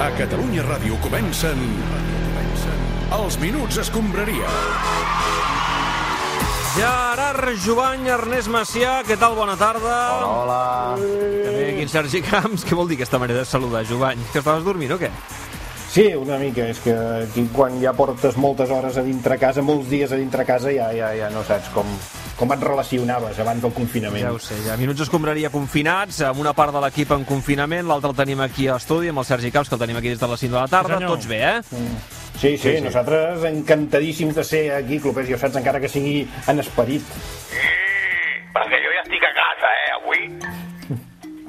A Catalunya Ràdio comencen... Els Minuts Escombraria. Gerard Jovany, Ernest Macià, què tal? Bona tarda. Hola. També aquí en Sergi Camps. Què vol dir aquesta manera de saludar, Jovany? Que estaves dormint o què? Sí, una mica, és que aquí quan ja portes moltes hores a dintre casa, molts dies a dintre casa, ja, ja, ja no saps com, com et relacionaves abans del confinament. Ja ho sé, ja. Minuts escombraria confinats, amb una part de l'equip en confinament, l'altra el tenim aquí a estudi, amb el Sergi Camps, que el tenim aquí des de les 5 de la tarda. senyor. Tots bé, eh? Mm. Sí, sí, sí, nosaltres encantadíssims de ser aquí, Clopés, ja ho saps, encara que sigui en esperit. Perquè jo ja estic a casa, eh, avui.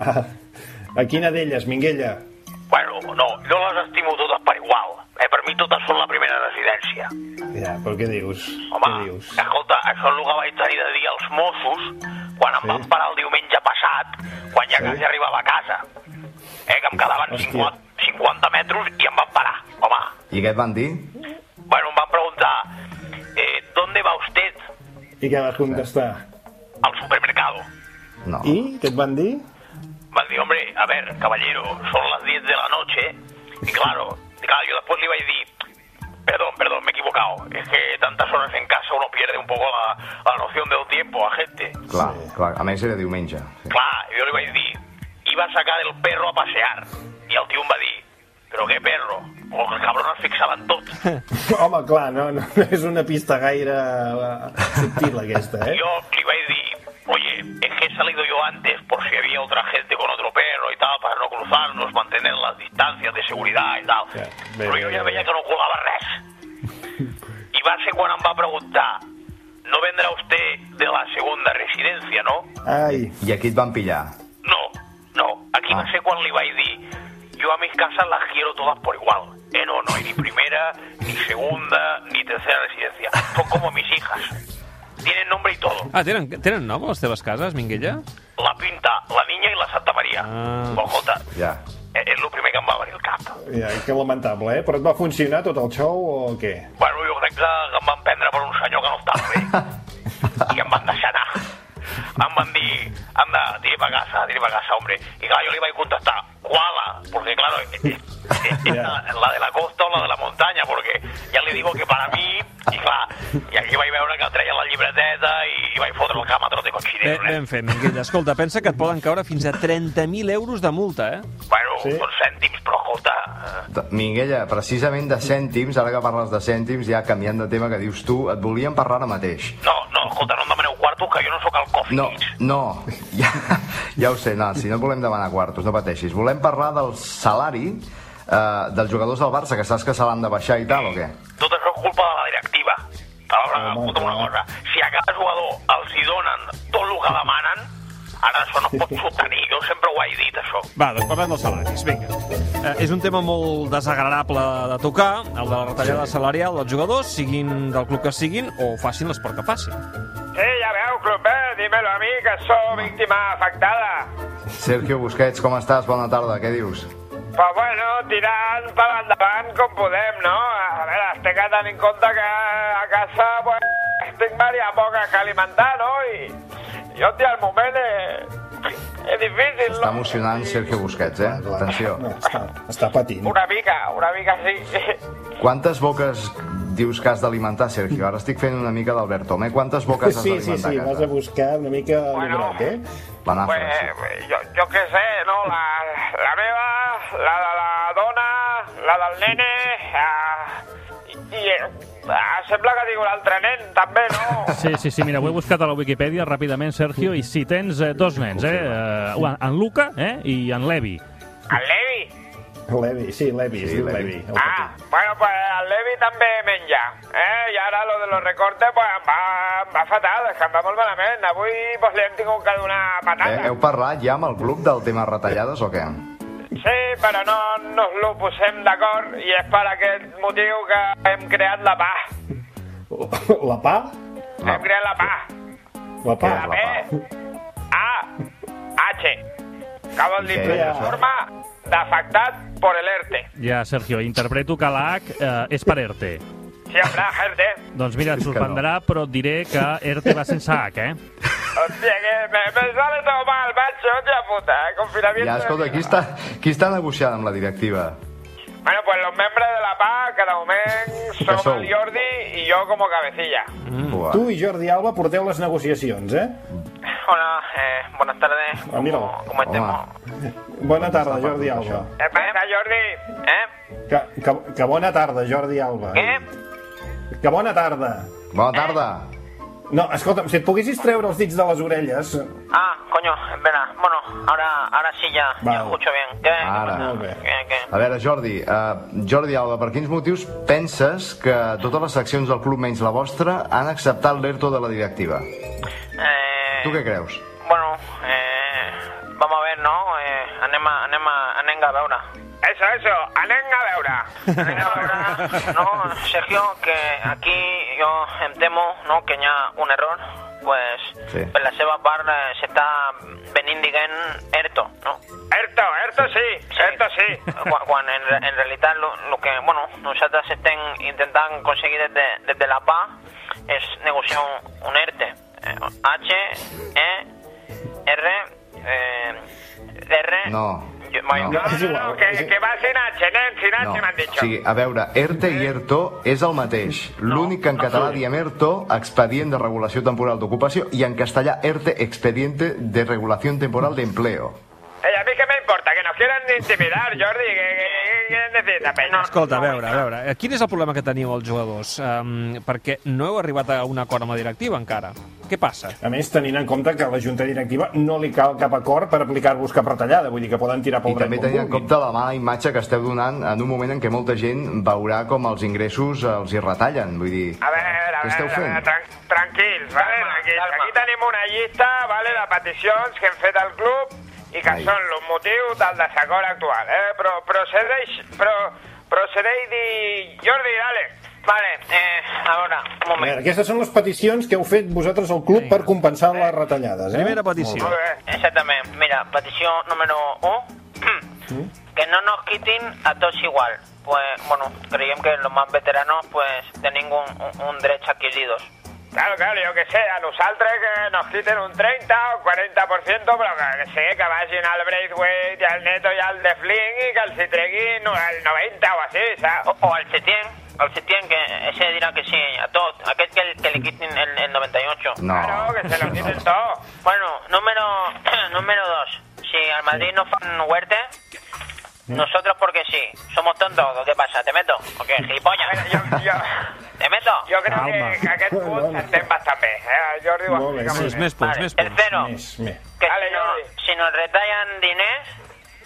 Ah, a quina d'elles, Minguella? Bueno, no, jo les estimo totes per igual. Eh, per mi totes són la primera residència. Ja, però què dius? Home, què dius? escolta, això és el que vaig tenir de dir als Mossos quan em Sí. van parar el diumenge passat, quan ja Sí. quasi arribava a casa. Eh, que em quedaven Hòstia. 50, 50 metres i em van parar, home. I què et van dir? Bueno, em van preguntar, eh, ¿dónde va usted? I què vas contestar? Al supermercado. No. I què et van dir? Van dir, hombre, a ver, caballero, son las 10 de la noche. Y claro, y claro, yo después le iba a decir, perdón, perdón, me he equivocado. Es que tantas horas en casa uno pierde un poco la, la noción del tiempo a gente. Clar, clar. A més era diumenge. Sí. Claro, yo le iba a decir, iba a sacar el perro a pasear. Y al tío me va a decir, pero qué perro, porque el cabrón es fixaban todo. Home, clar, no, no, no és una pista gaire eh, subtil, aquesta, eh? Yo le iba a decir, oye, es que he salido yo antes por si había otra gente con otro perro y tal, para no cruzarnos, mantener las distancias de seguridad y tal. Ja, bé, Però bé, jo bé. ja veia que no colava res. I va ser quan em va preguntar, no vendrá usted de la segunda residencia, no? Ai, I aquí et van pillar. No, no. Aquí va Ah. ser quan li vaig dir, yo a mis casas las quiero todas por igual. Eh, no, no hay ni primera, ni segunda, ni tercera residencia. Son como mis hijas. Tienen nombre y todo. Ah, tenen, tenen nom les teves cases, Minguella? La Pinta, la Niña i la Santa Maria. Ah. Però, escolta, Ja. eh, és el primer que em va venir al cap. ja, que lamentable, eh? Però et va funcionar tot el xou o què? Bueno, jo crec que em van prendre per un senyor que no estava bé. I em van deixar anar. Em van dir, anda, tira pa casa, tira pa casa, hombre. I clar, jo li vaig contestar, ¿cuala? Porque, claro, eh, eh, eh, Ja. la, la de la costa o la de la montaña, porque ja li digo que para mi... I clar, i aquí vaig veure que treien la llibreteta i, i vaig fotre el camp a trot Bé, de cochinero, eh? ben fet, Minguella. Escolta, pensa que et poden caure fins a 30.000 euros de multa, eh? Bueno, Sí. són cèntims, però escolta... eh, T- Minguella, precisament de cèntims, ara que parles de cèntims, ja canviant de tema que dius tu, et volíem parlar ara mateix. No, no, escolta, no em demaneu quartos, que jo no sóc el coffee. No, no, ja, ja ho sé, no, si no et volem demanar quartos, no pateixis. Volem parlar del salari eh, dels jugadors del Barça, que saps que se l'han de baixar i tal, o què? Tot això és culpa de la directiva. A veure, Home, escolta'm una clar. cosa. Si a cada jugador els hi donen tot el que demanen, ara això no pot sostenir. Jo sempre ho he dit, això. Va, doncs parlem dels salaris, vinga. eh? És un tema molt desagradable de tocar, el de la retallada salarial dels jugadors, siguin del club que siguin o facin l'esport que facin. Sí, ja veu, Clopé, dímelo a mi, que sóc víctima afectada. Sergio Busquets, com estàs? Bona tarda, què dius? Però Pues bueno, tirant per endavant com podem, no? A veure, es té que tenir en compte que a casa pues, tinc diverses poques que alimentar, no? I jo, tia, el moment és, és difícil, Està no? emocionant Sergio Busquets, eh? Atenció. No, està, està patint. Una mica, una mica sí. Quantes boques dius que has d'alimentar, Sergio? Ara estic fent una mica d'Albert Tomé. Quantes boques has Sí, sí, d'alimentar sí, a vas a casa? buscar una mica Bueno. l'obrat, eh? La Pues, nafra, sí. jo, jo què sé, no? La, la meva, la de la dona, la del nene... Eh, i, i eh, sembla que tinc un altre nen, també, no? Sí, sí, sí, mira, ho he buscat a la Wikipedia ràpidament, Sergio, i si tens eh, dos nens, eh? eh, un- en Luca eh, i en Levi. El Levi. Levi, sí, Levi, es Sí, diu Levi. Levi. el Ah, bueno, pues el Levi també menja. Eh? I ara lo de los recortes pues, em, va, em va fatal, és que em va molt malament. Avui pues, li hem tingut que donar Eh, patada. heu parlat ja amb el club del tema retallades o què? Sí, però no nos lo posem d'acord i és per aquest motiu que hem creat la pah. petit. La pa? Hem creat la pah. La pa. Què és la P, A, H. Que vol dir Què era primera això? forma d'afectat per l'ERTE. Ja, Sergio, interpreto que l'H eh, és per ERTE. Si hi haurà ERTE, Doncs mira, et És que no. sorprendrà, però et diré que ERTE va sense H, eh? hòstia, que me, me sale todo mal, macho, hòstia puta, eh? confinamiento... Ja, escolta, de qui mierda. està, qui està negociant amb la directiva? Bueno, pues los membres de la PA, que de moment Que som sou. el Jordi i jo com a cabecilla. Buah. Tu i Jordi Alba porteu les negociacions, eh? Hola, eh, buenas tardes. Ah, míralo. ¿Cómo, cómo estemos? Home, Bona tarda, està Jordi perdut, Alba. això? Eh, passa, Jordi? Eh? Que, que, que bona tarda, Jordi Alba. Què? Que bona tarda. Eh? Bona tarda. No, escolta'm, si et poguessis treure els dits de les orelles... Ah, coño, espera. Bueno, ahora, ahora sí ya, Vale. ya escucho bien. ¿Qué? Ara. Molt bé. ¿Qué, qué? A veure, Jordi, eh, Jordi Alba, per quins motius penses que totes les seccions del club menys la vostra han acceptat l'ERTO de la directiva? Eh, Tu què creus? Bueno, eh, vamos a ver, ¿no? Eh, anem, a, anem, a, anem a veure. Eso, eso, anem a veure. Anem a veure, no, Sergio, que aquí jo em temo no, que hi ha un error, pues Sí. per la seva part eh, s'està venint dient Erto, no? Erto, Erto sí, sí. Erto sí. Quan, quan en, re- en realitat lo, lo que, bueno, nosaltres estem intentant aconseguir des de, des de la PA és negociar un, un ERTE. Eh, H, E, R, eh, R... No, Jo- bueno, no. És igual, és- va sin H, nen, sin O sigui, a veure, ERTE i ERTO és el mateix. L'únic que en català diem ERTO, expedient de regulació temporal d'ocupació, i en castellà ERTE, expediente de regulación temporal de empleo. Eh, a mí que me importa, que nos quieran intimidar, Jordi, que, necesita pena. Escolta, a veure, a veure, eh, quin és el problema que teniu els jugadors? Um, perquè no heu arribat a un acord amb la directiva encara. Què passa? A més, tenint en compte que a la Junta Directiva no li cal cap acord per aplicar-vos cap retallada, vull dir que poden tirar I pel dret també com tenint en vulguin. compte la mala imatge que esteu donant en un moment en què molta gent veurà com els ingressos els hi retallen. Vull dir, A ver, a Què ver, esteu a fent? ver tran- tranquils, vale, tranquils. Aquí tenim una llista, vale, de peticions que hem fet al club i que Ai. són el motiu del desacord actual, eh? Però procedeix, però procedeix di... Jordi, dale. Vale, eh, a veure, un A veure, aquestes són les peticions que heu fet vosaltres al club per compensar les retallades, eh? Primera petició. Molt bé. Exactament. Mira, petició número 1. que no nos quiten a tots igual. Pues, bueno, creiem que los más veteranos, pues, tenim un, un, un drets adquiridos. Claro, claro, jo que sé, a nosaltres que nos quiten un 30 o 40%, però que, que sé, que vagin al Braithwaite i al Neto i al De Flynn i que els hi treguin el 90 o així, saps? O, o al Setién, al Setién, que ese dirà que sí a tot, aquest que, que li quitin el, el 98. No. Claro, que se lo quiten todo. Bueno, número, número dos. Si al Madrid no fan huerte, nosotros porque sí. Somos tontos, ¿o ¿qué pasa? ¿Te meto? ¿O qué, gilipollas? ¿Te meto? Yo creo Calma. que aquest punt estem bastant bé, eh? Jordi ho Molt bé, explica sí, molt més bé. punts, més punts. Tercero, Més, més. que si, no- si nos retallan diners,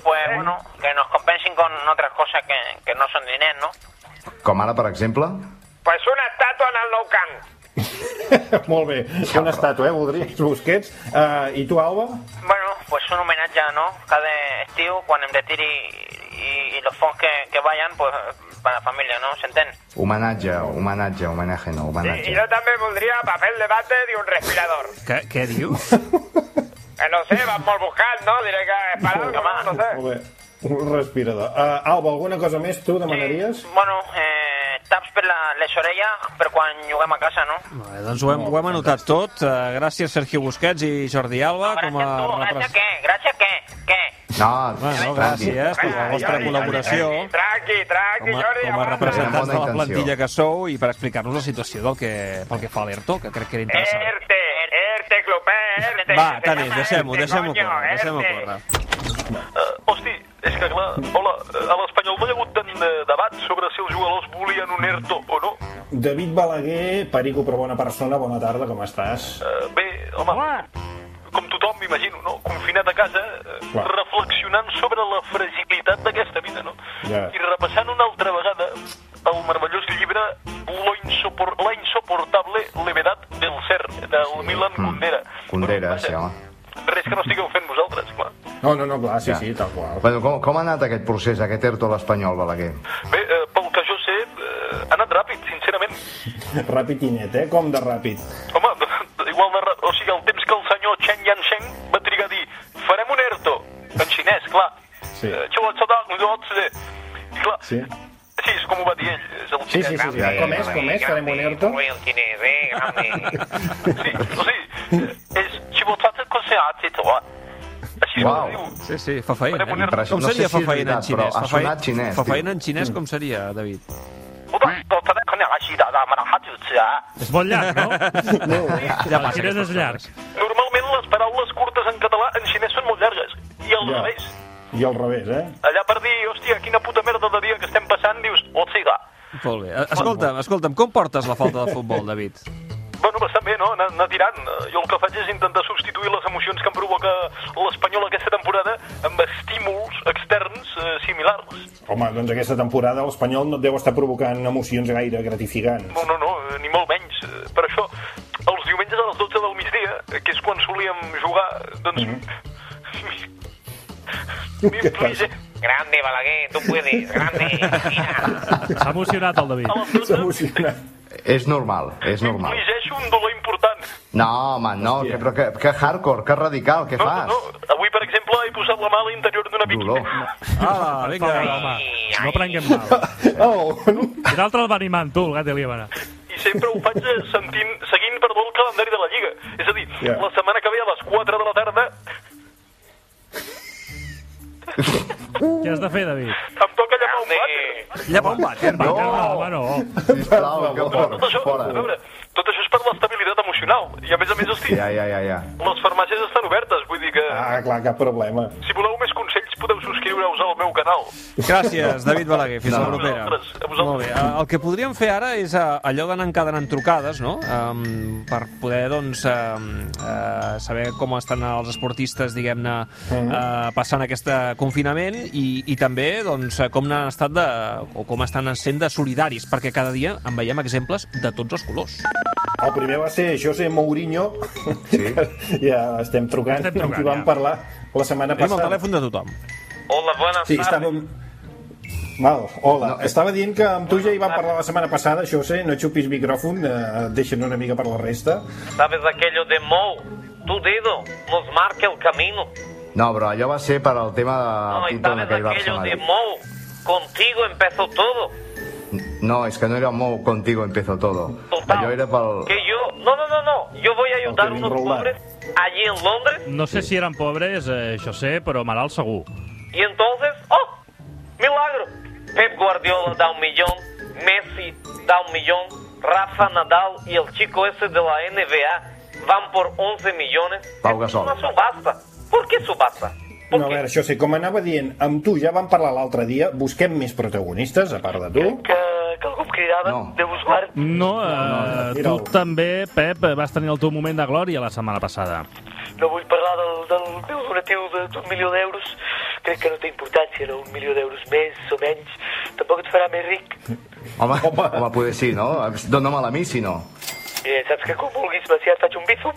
pues bueno, que nos compensen con otras cosas que, que no son diners, ¿no? com ara, per exemple... Pues una estatua en el Nou Camp. Molt bé, una estàtua, eh? Voldries Busquets. Uh, I tu, Alba? Bueno, pues un homenatge, no? Cada estiu, quan em retiri i, i los fons que, que vayan, pues para la família, no? S'entén? Homenatge, homenatge, homenatge, no, homenatge. també voldria papel de vàter i un respirador. Què, què dius? Que no sé, vas molt buscant, no? Diré que és per algo, no Molt bé. Un respirador. Uh, Alba, alguna cosa més tu demanaries? Bueno, eh, taps per la, les orelles per quan juguem a casa, no? Bé, doncs ho hem, ho hem anotat tot. Uh, gràcies, Sergio Busquets i Jordi Alba. com a gràcies tu, gràcies repres- què? Gràcies què? Què? No, Bueno, tranqui. gràcies per la vostra col·laboració. Tranqui, tranqui, Com a, com a Amb representants bona de la intenció. plantilla que sou i per explicar-nos la situació del que, pel que fa a l'ERTO, que crec que era interessant. ERTE, ERTE, clubé, ERTE. Va, Tanés, deixem-ho, deixem-ho córrer, deixem-ho córrer. Eh, hosti, és que clar, hola, eh, a l'Espanyol no hi ha hagut tant eh, debat sobre si els jugadors volien un ERTO o no. David Balaguer, perico però bona persona, bona tarda, com estàs? Eh, bé, home, com tothom m'imagino, no? Confinat a casa, eh, Clar. reflexionant sobre la fragilitat d'aquesta vida, no? Ja. I repassant una altra vegada el meravellós llibre Lo insopor La insoportable levedad del ser, del Milan Kundera. Kundera, vaja, sí, home. Res que no estigueu fent vosaltres, clar. No, no, no, clar, sí, Ja. sí, tal qual. Bueno, com, com ha anat aquest procés, aquest ERTO a l'Espanyol, Balaguer? Bé, eh, pel que jo sé, eh, ha anat ràpid, sincerament. Rapidinet, eh? Com de ràpid. Home, igual de... ra- O sigui, el temps que el senyor Chen Yansheng va trigar a dir farem un ERTO, en xinès, clar. Sí. Eh, "Chua chada, un dos, eh." I clar, Sí. així és com ho va dir ell, és el Sí, sí, sí. xinès. sí. Com és, com és? Farem un ERTO? ah, Sí, o sigui, eh, és "Chua chata, cosa ha dit, oi?" Així Uau. es diu. Sí, sí, fafaina. Faré poner- Eh? Com No sé seria si és fafaina en veritat, però xinès? ha Fafai- sonat xinès, tio. Fafaina en xinès com seria, David? ah, És molt llarg, no? no. Ja El xinès és llarg. Normalment les paraules curtes en català en xinès són molt llargues. I al Ja. revés. I al revés, eh? Allà per dir, hòstia, quina puta merda de dia que estem passant, dius, otsiga. Molt bé. Escolta'm, escolta'm, com portes la falta de futbol, David? Bueno, bastant bé, no? Anar, anar tirant. Eh, Jo el que faig és intentar substituir les emocions que em provoca l'Espanyol aquesta temporada amb estímuls externs eh, similars. Home, doncs aquesta temporada l'Espanyol no et deu estar provocant emocions gaire gratificants. No, no, no, eh, ni molt menys. Eh, Per això, els diumenges a les 12 del migdia, eh, que és quan solíem jugar, doncs... M'implice. Grande, Balaguer, tú puedes, grande. S'ha emocionat el David. A les S'ha 12 emocionat. És normal, és normal. m'implice un dolor important. No, home, no, que, però que, que hardcore, que radical, què No, no, fas? no. Avui, per exemple, he posat la mà a l'interior d'una Dolor. piquina. Ah, vinga. Home, no prenguem mal. Oh, I l'altre el va animant, tu, el gat Eliabana. i sempre ho faig eh, sentint, seguint perdó, el calendari de la Lliga. És a dir, Ja. la setmana que ve a les 4 de la tarda Què has de fer, David? em toca llamar un vàter. Llepar un vàter. Va, No. no, home, no. Sisplau, que Tot fora, això, a fora. veure, tot això és per l'estabilitat emocional. I a més a més, hosti, Ja, ja, ja, ja. les farmàcies estan obertes, vull dir que... ah, clar, cap problema. Si voleu més consells, podeu subscriure-us al meu canal. Gràcies, David Balaguer. Fins No. a la propera. A vosaltres, a vosaltres. Molt bé. Eh, El que podríem fer ara és eh, allò d'anar encadenant trucades, no? Um, per poder, doncs, um, uh, saber com estan els esportistes, diguem-ne, uh, passant aquest confinament i, i també, doncs, eh, com han estat de, o com estan sent de solidaris, perquè cada dia en veiem exemples de tots els colors. El primer va ser José Mourinho. Sí. Ja estem trucant, Estem trucant, amb qui vam ja. parlar la setmana Tenim el passada. telèfon de tothom. Hola, buenas Sí, estàvem... Val, hola. No, eh, No, estava dient que amb tu ja hi vam parlar la setmana passada, José, no xupis micròfon, eh, deixa'm una mica per la resta. ¿Sabes aquello de Mou? Tu dedo nos marca el camino. No, però allò va ser per al tema del Ay, títol ¿Sabes d'aquell Barça aquello de Madrid. Mou? Contigo empezó todo. No, és que no era molt contigo empezó todo. Total, Allò era pel... Que yo... No, no, no, no. Yo voy a ayudar a Kevin unos Roland. pobres allí en Londres No sé si eren pobres, eh, això sé, però malalt segur. y entonces... ¡Oh! ¡Milagro! Pep Guardiola da un millón, Messi da un millón, Rafa Nadal y el chico ese de la NBA van por 11 millones. Pau Es Gasol. una subasta. ¿Por qué subasta? ¿Por No, a qué? veure, José, com anava dient, amb tu ja vam parlar l'altre dia, busquem més protagonistes, a part de tu. Que, que algú em cridava No. de buscar... No, eh, tu mira'l. també, Pep, vas tenir el teu moment de glòria la setmana passada. No vull parlar del, del meu donatiu de- d'un milió d'euros. Crec que no té importància, no? Un milió d'euros més o menys. Tampoc et farà més ric. Home, home, poder sí, no? Dóna'm a mi, si no. Eh, saps que com vulguis, Macià, et faig un bífum.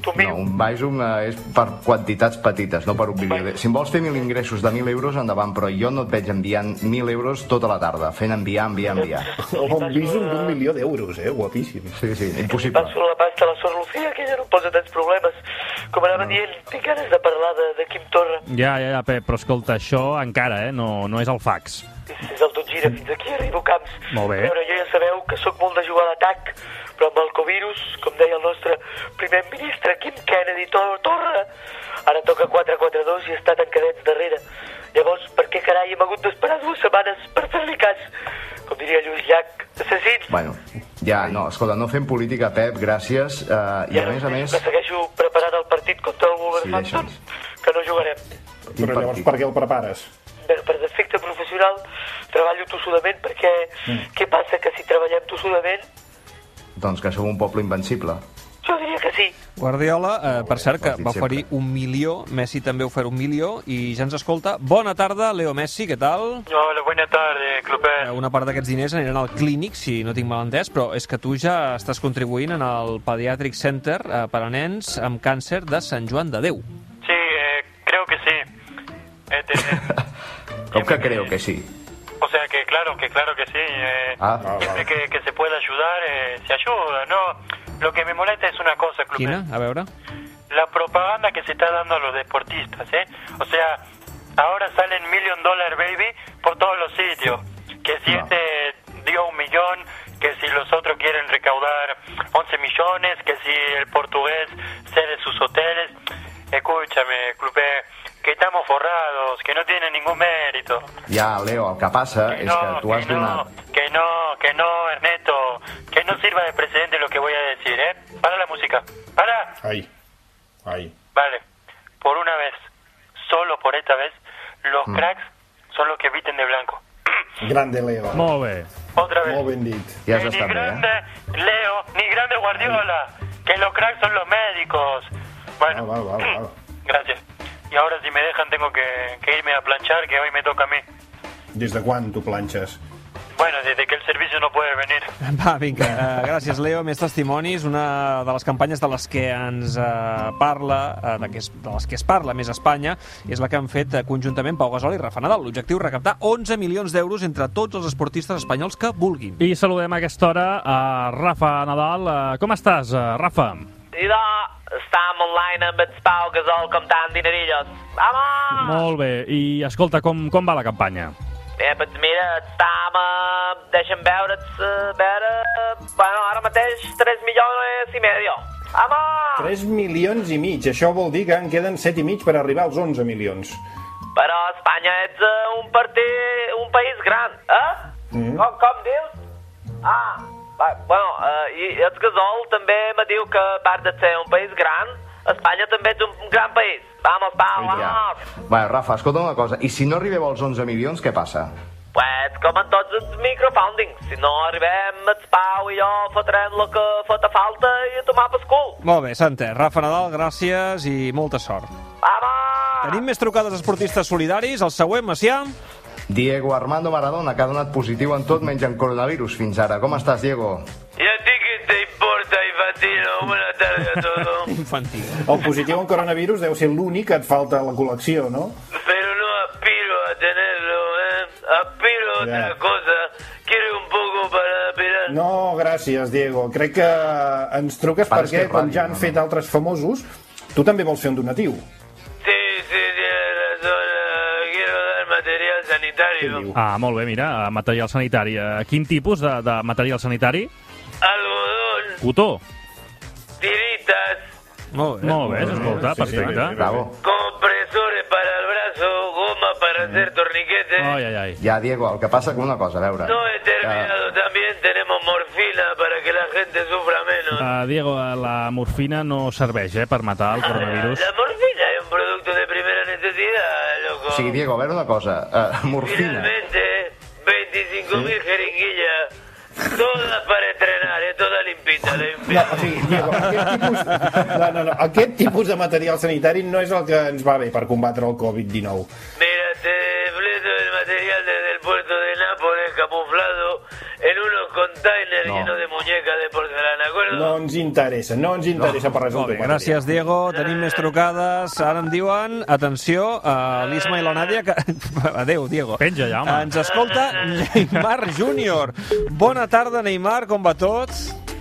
Tu No, un Bizum eh, és per quantitats petites, no per un milió d'euros. Si em vols fer mil ingressos de mil euros, endavant, però jo no et veig enviant mil euros tota la tarda, fent enviar, enviar, enviar. Un visum d'un milió d'euros, eh? Guapíssim. Sí, sí, impossible. Passo la pasta a la Sor Lucía, que ella no em posa tants problemes. Com anava dient, tinc ganes de parlar de, de Quim Torra. Ja, ja, ja, Pep, però escolta, això encara, eh, no, no és el fax. Eh, És, és el tot gira, fins aquí arribo camps. Molt bé. A veure, jo ja sabeu que sóc molt de jugar a l'atac, però amb el Covirus, com deia el nostre primer ministre Kim Kennedy Tor Torra, ara toca 4-4-2 i està tancadets darrere. Llavors, per què carai hem hagut d'esperar dues setmanes per fer-li cas? Com diria Lluís Llach, assassins. Bueno, ja, no, escolta, no fem política, Pep, gràcies. Eh, I a més a més... Que segueixo preparant el partit contra el Wolverhampton, deixa'ns. que no jugarem. Quin Però llavors partit? per què el prepares? per, per defecte professional treballo tossudament perquè mm. què passa que si treballem tossudament Doncs que som un poble invencible. jo diria que sí Guardiola, eh, per cert, que ho has dit va oferir sempre. un milió, Messi també oferir un milió, i ja ens escolta. Bona tarda, Leo Messi, què tal? Hola, buena tarde, Eh, Clopet. Una part d'aquests diners aniran al clínic, si no tinc mal entès, però és que tu ja estàs contribuint en el Pediatric Center eh, per a nens amb càncer de Sant Joan de Déu. Sí, eh, creo que sí. Este, Com que creu que sí? o sea que claro, que claro que sí. eh, Ah, siempre que, que se pueda ayudar, eh, se ayuda, ¿no? Lo que me molesta es una cosa, Clopet. Quina? A veure. la propaganda que se está dando a los deportistas, ¿eh? O sea, ahora salen Million Dollar Baby por todos los sitios. Que si No. este dio un millón, que si los otros quieren recaudar 11 millones, que si el portugués cede sus hoteles. Escúchame, Clupé, que estamos forrados, que no tiene ningún mérito. Ja, Leo, el que passa Que és no, que tu has que no, donat... que no, que no, Ernesto, que no sirva de precedente lo que voy a decir, ¿eh? Para la música, para. Ai, ai. Vale, por una vez, solo por esta vez, los cracks son los que visten de blanco. Grande Leo. Molt, Molt bé. Otra vez. molt ben dit. Ja has Que ni estat bé, grande eh? Leo, ni grande Guardiola, que los cracks son los médicos. Val, Bueno, Ah, val, val, val. gracias. Y ahora si me dejan tengo que, que irme a planchar, que hoy me toca a mí. Des de quan tu planxes? Bueno, desde que el servicio no puede venir. Va, vinga, uh, gràcies, Leo. Més testimonis, una de les campanyes de les que ens uh, parla, uh, de, que es, de les que es parla més a Espanya, és la que han fet eh, conjuntament Pau Gasol i Rafa Nadal. L'objectiu, recaptar 11 milions d'euros entre tots els esportistes espanyols que vulguin. I saludem a aquesta hora a Rafa Nadal. Eh, Com estàs, eh, Rafa? Idò, estàvem online amb el Pau Gasol com tant dinerillos. Vamos! Molt bé. I escolta, com, com va la campanya? Eh, doncs mira, estam... Eh, deixa'm veure't... Eh, veure... Eh, bueno, ara mateix 3 milions i medio. Home! Ah. 3 milions i mig. Això vol dir que en queden 7 i mig per arribar als 11 milions. Però Espanya ets eh, un partit... un país gran, eh? Mm. Com, com dius? Ah, va, bueno, eh, i el Gasol també me diu que a part de ser un país gran, Espanya també ets un gran país. Vamos, Pau, Ja. vamos! Bé, Rafa, escolta'm una cosa. I si no arribeu als 11 milions, què passa? Pues com en tots els microfoundings, si no arribem, el Pau i jo fotrem el que fota falta i a tomar pel cul. Molt bé, s'ha entès. Rafa Nadal, gràcies i molta sort. Vamos! Tenim més trucades esportistes solidaris. El següent, Macià. Diego Armando Maradona, que ha donat positiu en tot menys en coronavirus fins ara. Com estàs, Diego? ¿Y a ti qué te importa, Infantino? Buenas tardes a todos. Infantil. El positiu en coronavirus deu ser l'únic que et falta a la col·lecció, no? Pero no aspiro a tenerlo, ¿eh? Aspiro a Ya. otra cosa. ¿Quiere un poco para aspirar? No, gràcies, Diego. Crec que ens truques Pare, és perquè, que és com ràdio, ja han no? fet altres famosos, tu també vols fer un donatiu. Sí, sí, tiene razón. eh, Quiero dar material Què sanitario. diu? Ah, molt bé, mira, eh, material sanitari. Eh, Quin tipus de, de material sanitari? Algodón, Cotó. tiritas, Molt bé. Molt bé, escolta, Sí, sí, bé, perfecte. bé. Bravo. compresores para el brazo, goma para hacer torniquetes. Ai, ai, ai. Ja, Diego, el que passa que una cosa, a veure... No he terminado. También tenemos morfina para que la gente sufra menos. Uh, Diego, eh, la morfina no serveix eh, per matar el coronavirus. La morfina es un producto de primera necesidad, loco. O sigui, Diego, a veure una cosa. Uh, morfina. Finalmente, 25.000 jeringuillas. Todas para estrenar, ¿eh? toda limpita, No, limpita. o sigui, Diego, aquest tipus, no, no, no, aquest tipus de material sanitari no és el que ens va bé per combatre el Covid-19. Mira, te fleto el material desde el puerto de Nápoles camuflado en unos containers No. llenos de muñecas de porcelana, ¿acuerdo? No ens interessa, no ens interessa per res el Molt teu bé, material. gràcies, Diego. Tenim més trucades. Ara em diuen, atenció, a l'Isma i la Nàdia, que... Adéu, Diego. Penja ja, home. Ens escolta Neymar Júnior. Bona tarda, Neymar, com va tot?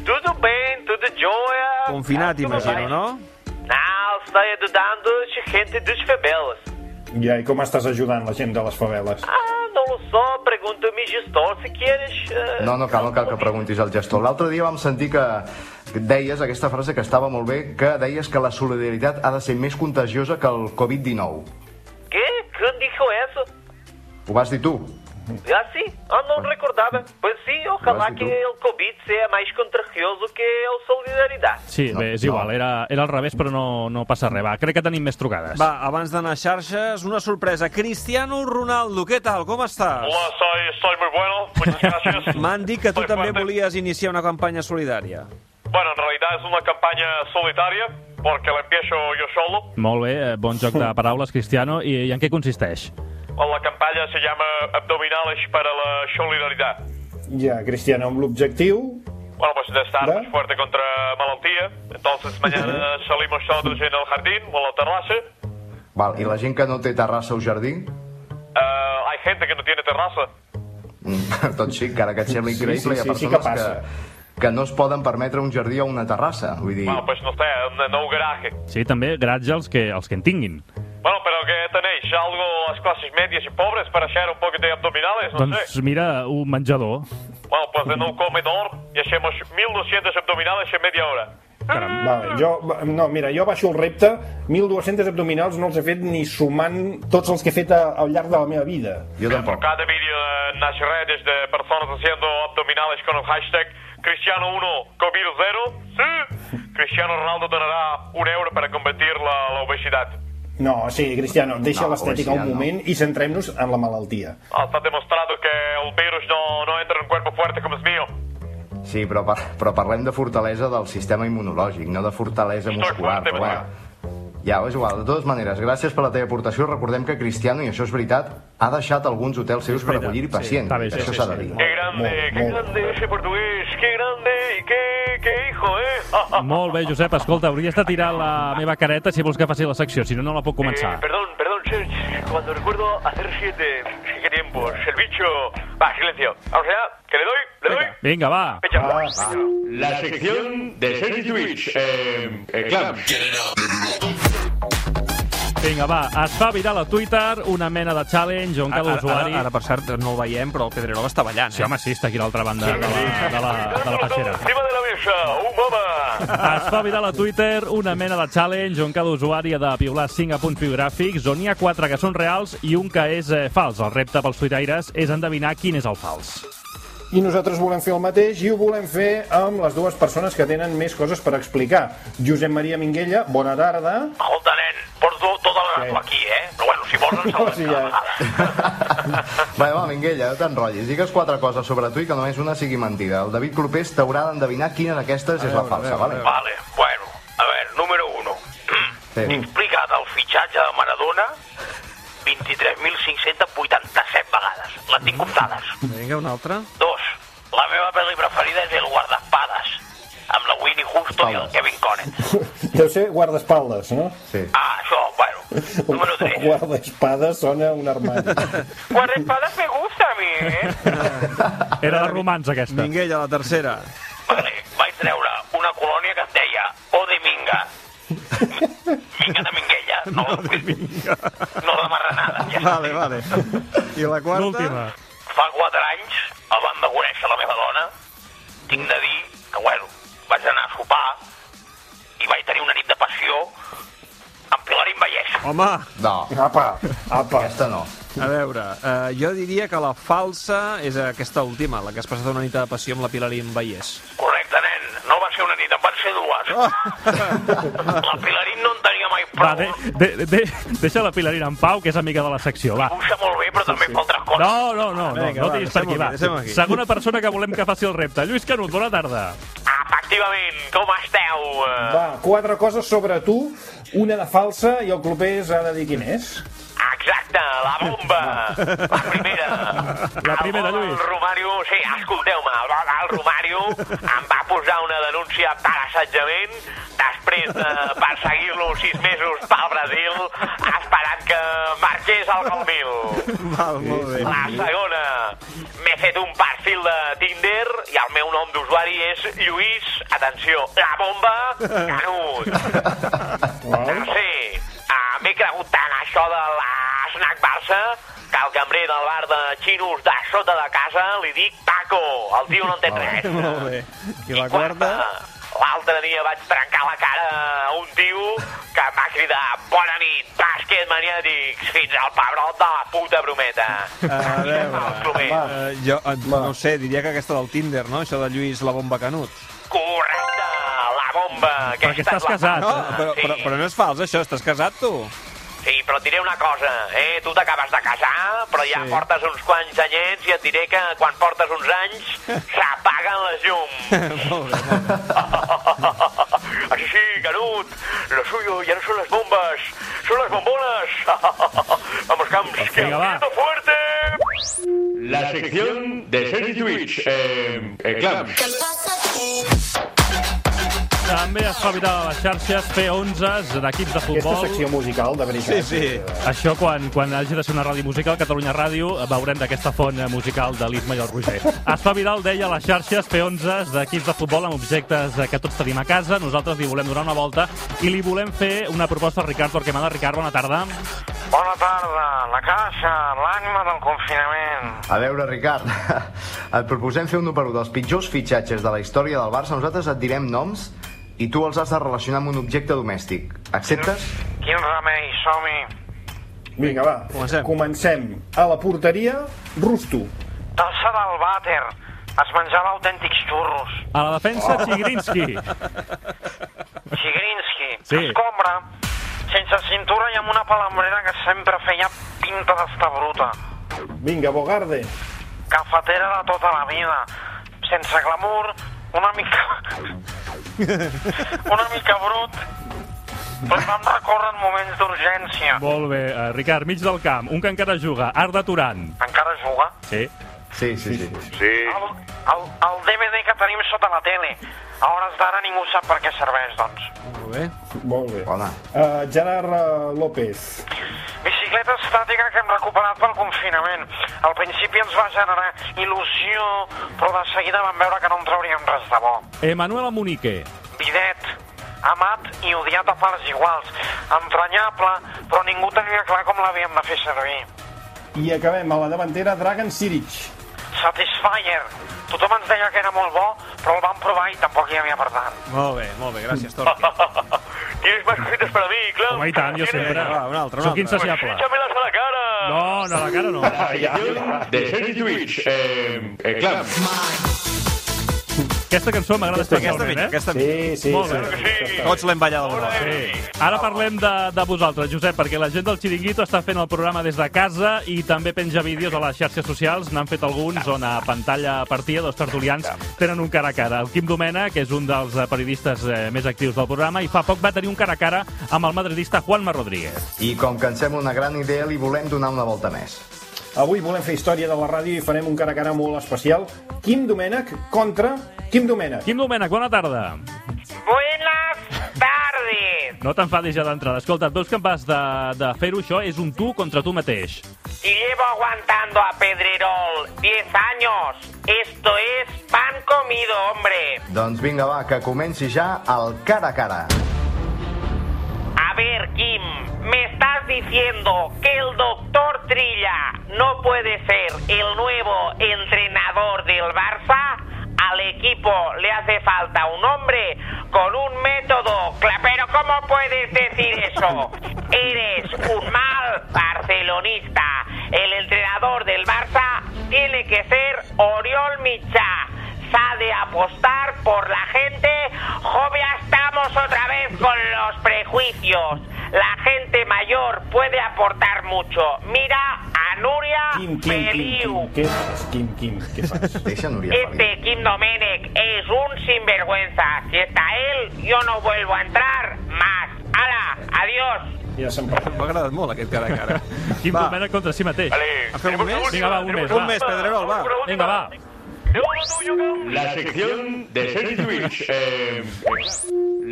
Tudo bem, tudo jóia. Confinat, imagino, no? Não, estou ajudando a gente dos favelas. Ja, i com estàs ajudant la gent de les faveles? Ah, não só, pergunto-me gestor se queres... eh, No, no cal, no cal que preguntis al gestor. L'altre dia vam sentir que deies aquesta frase que estava molt bé, que deies que la solidaritat ha de ser més contagiosa que el Covid-19. Que? Quem dijo isso? Ho vas dir tu. Ah, sim? Ah, não recordava. Pois sim, ojalá Mas, que então- o Covid seja é mais contagioso que a solidariedade. Sí, No, bé, és no. igual, era, era al revés, però no, no passa res. Va, crec que tenim més trucades. Va, abans d'anar a xarxes, una sorpresa. Cristiano Ronaldo, què tal? Com estàs? Hola, soy, soy muy bueno, muchas gracias. M'han dit que tu Soy també fuerte. volies iniciar una campanya solidària. Bueno, en realidad es una campaña solitaria, porque la empiezo yo solo. Molt bé, eh, bon joc de paraules, Cristiano. I, i en què consisteix? La campaña se llama Abdominales para la Solidaridad. Ja, Cristiano, amb l'objectiu... Bueno, pues de estar ¿Verdad? más fuerte contra malaltía. Entonces mañana salimos todos en el jardín o en la terraza. Val, I la gent que no té terrassa o jardí? Eh, hay gente que no tiene terraza. Mm, Tot sí, encara que et sembli Sí, sí, increïble, hi ha sí, sí que persones passa. que, que no es poden permetre un jardí o una terrassa. Vull dir, Bueno, pues no sé, en un garaje. Sí, també graig als que, els que en tinguin. Bueno, pero ¿qué tenéis? ¿Algo las clases medias y pobres para hacer un poco de abdominales? No Doncs sé. mira, un menjador. Bueno, pues en un comedor y hacemos 1200 abdominales en media hora. Ah. Caram. Vale, jo, no, mira, jo baixo el repte 1.200 abdominals no els he fet ni sumant tots els que he fet a, al llarg de la meva vida Jo tampoc. Cada vídeo en las redes de personas haciendo abdominales con el hashtag Cristiano 1 Covid 0. Sí. Cristiano Ronaldo donará un euro para combatir la, la obesidad. no, sí, Cristiano, deixa Ah, No, l'estètica obesidad, un moment i centrem-nos en la malaltia Está demostrado que el virus no, no entra en un cuerpo fuerte como es mío. Sí, però, par però parlem de fortalesa del sistema immunològic, no de fortalesa muscular. Però, bueno, ja, és igual. De totes maneres, gràcies per la teva aportació. Recordem que Cristiano, i això és veritat, ha deixat alguns hotels seus per acollir pacients. està bé, sí, això sí, s'ha sí. de dir. Qué grande, qué grande ese portugués, qué grande y qué, qué hijo, ¿eh? Molt bé, Josep, escolta, hauries de tirar la meva careta si vols que faci la secció, si no, no la puc Eh, començar. perdón, perdón, Serge. Cuando recuerdo hacer siete, sí, qué tiempos. El bicho. Va, silencio. Vamos allá, que le doy, le doy. Vinga, va. Fecha. ah, La sección de Sergi Twitch. Eh, eh, Clams. Vinga, va. Es fa viral a Twitter una mena de challenge on cada Ara, usuari... ara, ara, per cert, no el veiem, però el Pedrerol està ballant. eh? Sí, home, sí, està aquí a l'altra banda de la, de la, de Encima la peixera. de la mesa, un mama. Es fa viral a Twitter una mena de challenge on cada usuari ha de piular 5 apunts biogràfics, on hi ha 4 que són reals i un que és eh, fals. El repte pels tuitaires és endevinar quin és el fals. i nosaltres volem fer el mateix i ho volem fer amb les dues persones que tenen més coses per explicar Josep Maria Minguella, bona tarda Escolta, nen, porto tota la nata aquí, eh? Però bueno, si vols ens No, sí, ja. Bé, va, Minguella, no t'enrotllis. Digues quatre coses sobre tu i que només una sigui mentida. El David Clopés t'haurà d'endevinar quina d'aquestes és la falsa, vale? Vale, bueno, a ver, número 1. Sí. Explicat el fitxatge de Maradona 23.587 vegades. Les tinc comptades. Vinga, una altra. Dos, la meva pel·li preferida és El guardaespades, amb la Winnie Houston i el Espades. Kevin Connett. deu ser guardaespaldes, no? sí. Ah, això, bueno. Número 3. guardaespades sona un armari Guardaespades me gusta a mi, eh? Era de romans, aquesta. Minguella, la tercera. Vale, vaig treure una colònia que es deia O de Minga. Minga de Minguella, no, no de, Minga. No de Marranada. Ja. Vale, vale. I la quarta? L'última. Fa 4 anys, abans de conèixer la meva dona, tinc de dir que, bueno, vaig anar a sopar i vaig tenir una nit de passió amb Pilarín Vallès. Home, No, apa, apa aquesta no. a veure, eh, jo diria que la falsa és aquesta última, la que has passat una nit de passió amb la Pilarín Vallès. Correcte, nen. No va ser una nit, en van ser dues. La Pilarín no en tenia mai prou. Va, de, de, de, deixa la Pilarina en pau, que és amiga de la secció, va. Puxa molt bé, però també fa altres coses. No, no, no, no, Vinga, no va, tiris per aquí, deixem-ho va. aquí, deixem-ho aquí. Segona persona que volem que faci el repte. Lluís Canut, bona tarda. Efectivament, com esteu? Eh, Va, quatre coses sobre tu, una de falsa i el clopés ha de dir quin és. Exacte, la bomba. La primera. La primera, el, gol del Lluís. Romario, sí, escolteu-me, el, gol del Romario em va posar una denúncia per assetjament després de perseguir-lo sis mesos pel Brasil esperant que marxés al Calmil. Val, molt bé. La segona. M'he fet un perfil de Tinder i el meu nom d'usuari és Lluís, atenció, la bomba, Canut. Tercer, ah, m'he cregut tant això de l'esnac Barça que el cambrer del bar de xinos de sota de casa li dic Paco, el tio no entén res. Molt bé. I la quarta? L'altre dia vaig trencar la cara a un tio que em va cridar Bona nit, bàsquet maniàtics, fins al pebrot de la puta brometa. A veure, El Clomer. eh, jo eh, no ho sé, diria que aquesta del Tinder, no? Això de Lluís la bomba Canut. Correcte, la bomba. Aquesta Perquè estàs és la casat. No, bomba. però, però, sí, però no és fals, això. Estàs casat, tu? sí, però et diré una cosa, eh? Tu t'acabes de casar, però ja Sí. portes uns quants anyets i et diré que quan portes uns anys s'apaguen les llums. molt bé, molt bé. Así sí, Canut, lo suyo ya no son las bombas, son las bombonas. Vamos, Camps, que Venga, va. aprieto fuerte. La sección de Sergi Twitch. Eh, eh, Clams. També es fa viral a les xarxes P11 d'equips de Aquesta futbol. secció musical, de veritat. Sí, sí. Això, quan, quan hagi de ser una ràdio musical, Catalunya Ràdio, veurem d'aquesta font eh, musical de l'Isma i el Roger. Es fa viral, deia, a les xarxes P11 d'equips de futbol amb objectes eh, que tots tenim a casa. Nosaltres li volem donar una volta i li volem fer una proposta a Ricard Torquemada. Ricard, bona tarda. Bona tarda, la casa, l'ànima del confinament. A veure, Ricard, et proposem fer un 1 per 1 dels pitjors fitxatges de la història del Barça. Nosaltres et direm noms i tu els has de relacionar amb un objecte domèstic. Acceptes? Quin remei, som-hi. Vinga, va. Comencem. Comencem. A la porteria, Rusto. Tassa del vàter. Es menjava autèntics xurros. A la defensa, Oh. Chigrinsky. Chigrinsky. Sí. Escombra. Sense cintura i amb una palambrera que sempre feia pinta d'estar bruta. Vinga, Bogarde. Cafetera de tota la vida. Sense glamour, una mica... una mica brut. Però vam recórrer en moments d'urgència. Molt bé, eh, Ricard, mig del camp, un que encara juga, Arda Turan. Encara juga? Sí. Sí, sí, sí. sí. Sí. El, el, el DVD que tenim sota la tele. A hores d'ara ningú sap per què serveix, doncs. Molt bé. Molt bé. Hola. Uh, Gerard eh, López. Bicicleta estàtica que hem recuperat pel confinament. Al principi ens va generar il·lusió, però de seguida vam veure que no en trauríem res de bo. Emanuel Munique. Bidet, amat i odiat a parts iguals. Emprenyable, però ningú tenia clar com l'havíem de fer servir. I acabem a la davantera, Dragan Siric. Satisfyer. Tothom ens deia que era molt bo, però el vam provar i tampoc hi havia per tant. Molt bé, molt bé. Gràcies, Torqui. Tienes más cositas para mí, claro. Home, i tant, jo sempre. Va, un altre, un Sóc altre. insaciable. Échamelas a la cara. No, no, a la cara no. Sección de Sergi Lluís. Eh, eh, clam. Aquesta cançó m'agrada Aquesta especialment, mica, eh? aquesta mica. Sí, sí, Molt sí. bé. Tots l'hem ballat alguna vegada. Sí. Ara parlem de, de vosaltres, Josep, perquè la gent del Chiringuito està fent el programa des de casa i també penja vídeos a les xarxes socials. N'han fet alguns on a pantalla partida dos tertulians tenen un cara a cara. El Quim Domena, que és un dels eh, periodistes eh, més actius del programa, i fa poc va tenir un cara a cara amb el madridista Juanma Rodríguez. I com que ens sembla una gran idea, li volem donar una volta més. Avui volem fer història de la ràdio i farem un cara a cara molt especial. Quim Domènech contra Quim Domènech. Quim Domènech, bona tarda. Buenas tardes. No t'enfadis ja d'entrada. Escolta, et veus que em vas de, de fer-ho això? És un tu contra tu mateix. Y llevo aguantando a Pedrerol 10 años. Esto es pan comido, hombre. Doncs vinga, va, que comenci ja el cara a cara. A ver, Kim, me estás diciendo que el doctor Trilla no puede ser el nuevo entrenador del Barça. Al equipo le hace falta un hombre con un método. cla- Pero ¿cómo puedes decir eso? Eres un mal barcelonista. El entrenador del Barça tiene que ser Oriol Michá. Sa de apostar por la gente. Joven, estamos otra vez con los prejuicios. La gente mayor puede aportar mucho. Mira a Nuria Quim, Quim, Quim, Quim, Feliu. què fas? Quim, Quim, què fas? Deixa Núria Este Feliu. Kim Domenech es un sinvergüenza. Si está él, yo no vuelvo a entrar más. ¡Hala! ¡Adiós! Ja se'n va. M'ha agradat molt aquest cara a cara. Quim Va. Domènech contra si mateix. Vale. A fer un més? Vinga, va, un més, Un va. més, Pedrerol, va. Vinga, va. La sección de Sergi Lluís. Eh,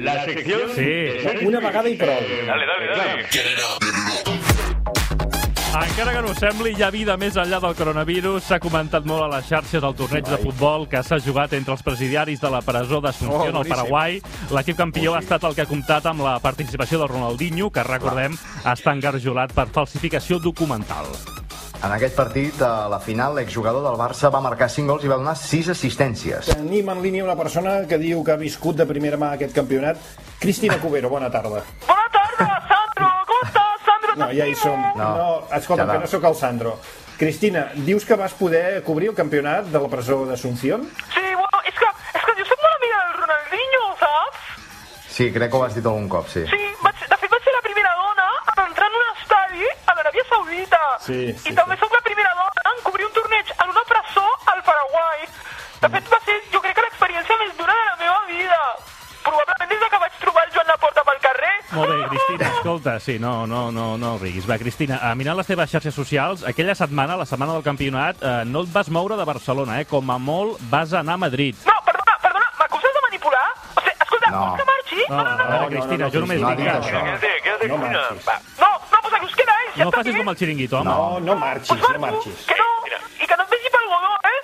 la sección Sí. de Sergi Una Lluís. eh, vegada i prou. Dale, dale, dale. Encara que no ho sembli, hi ha vida més enllà del coronavirus. S'ha comentat molt a les xarxes el torneig de futbol que s'ha jugat entre els presidiaris de la presó d'Assumpció Oh, al boníssim. Oh, Paraguai. L'equip campió ha estat el que ha comptat amb la participació del Ronaldinho, que recordem està engarjolat per falsificació documental. En aquest partit, a la final, l'exjugador del Barça va marcar 5 gols i va donar 6 assistències. Tenim en línia una persona que diu que ha viscut de primera mà aquest campionat. Cristina Cubero, bona tarda. Buenas tardes, Sandro. ¿Cómo estás, Sandro? No, ja hi som. No, No. no escolta, Ja va. que no sóc el Sandro. Cristina, dius que vas poder cobrir el campionat de la presó d'Assumpción? Sí, bueno, es que, és que jo soc molt amiga del Ronaldinho, saps? Sí, crec que ho has dit algun cop, sí. Sí, vaig, de fet vaig ser la primera dona a entrar en un estadi a l'Aràbia Saudita. Sí, sí, I també sí. sóc la primera dona en cobrir un torneig en una presó al Paraguai. Mm. De fet, va ser, jo crec que l'experiència més dura de la meva vida. Probablement des de que vaig trobar el Joan Laporta pel carrer. Molt bé, Cristina, escolta, sí, no, no, no, no riguis. Va, Cristina, a mirar les teves xarxes socials, aquella setmana, la setmana del campionat, eh, no et vas moure de Barcelona, eh? Com a molt vas anar a Madrid. No, perdona, perdona, m'acuses de manipular? O sigui, escolta, No. vols que marxi? No, a veure, Cristina, jo només No ha dic dit que- això. Quédate, quédate, No Cristina. marxis. Va. No, no, pues aquí us queda, eh? Si No està facis bé. com el xiringuito, home. No, no marxis, no marxis. Que no, i que no et vegi pel godó, eh?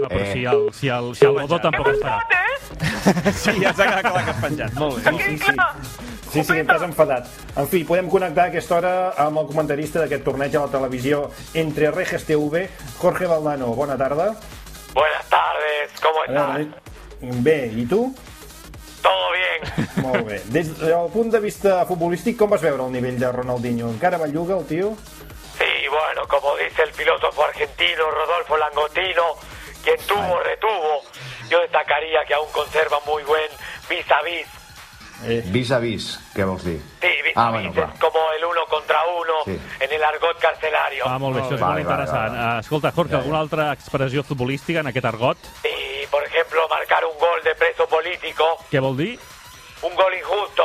No, però Eh. si el, si el, si el Godó tampoc està. Escolta, eh? Sí, ja s'ha quedat clar que has penjat. Molt bé. Sí, sí. clar. Sí, sí, estàs enfadat. En fi, podem connectar a aquesta hora amb el comentarista d'aquest torneig a la televisió Entre Reges TV, Jorge Valdano. Bona tarda. Buenas tardes, ¿cómo A estás? veure, bé, i tu? Todo bien, Molt bé. Des del punt de vista futbolístic, com vas veure el nivell de Ronaldinho? Encara belluga el tio? Sí, bueno, como dice el filósofo argentino Rodolfo Langotino, quien tuvo, retuvo. Yo destacaría que aún conserva muy buen vis-a-vis. Vis a vis, què vols dir? Sí, vis-a-vis Ah, bueno, clar. es como el uno contra uno Sí. en el argot carcelario. Ah, molt bé, això és Vale, molt vale, interessant. vale, vale. Eh, Escolta, Jorge, alguna altra expressió futbolística en aquest argot? Y, por ejemplo, marcar un gol de preso político, Què vol dir? un gol injusto.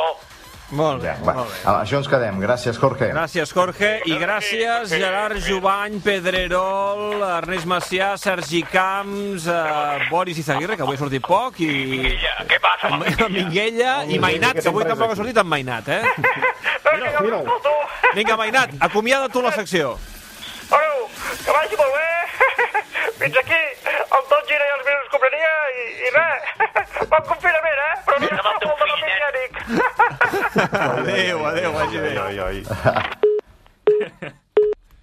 Molt bé. Va, amb això ens quedem. Gràcies, Jorge. Gràcies, Jorge, i gràcies Gerard Jubany, Pedrerol, Ernest Macià, Sergi Camps, eh, Boris Izaguirre, que avui ha sortit poc, i Minguella, ¿Qué pasa, amb- Minguella? amb Minguella, i Mainat, que avui tampoc ha sortit amb Mainat, eh? Mira'l, mira'l. Vinga, Mainat, acomiada tu la secció. Bueno, que vagi molt bé. Fins aquí el Tot Gira i els mesos compraria i, i res. Bon confinament, eh? Però no Mira, va, està molt tu, de fill, eh? dominianic. Adéu, adéu, vagi bé. Gràcies.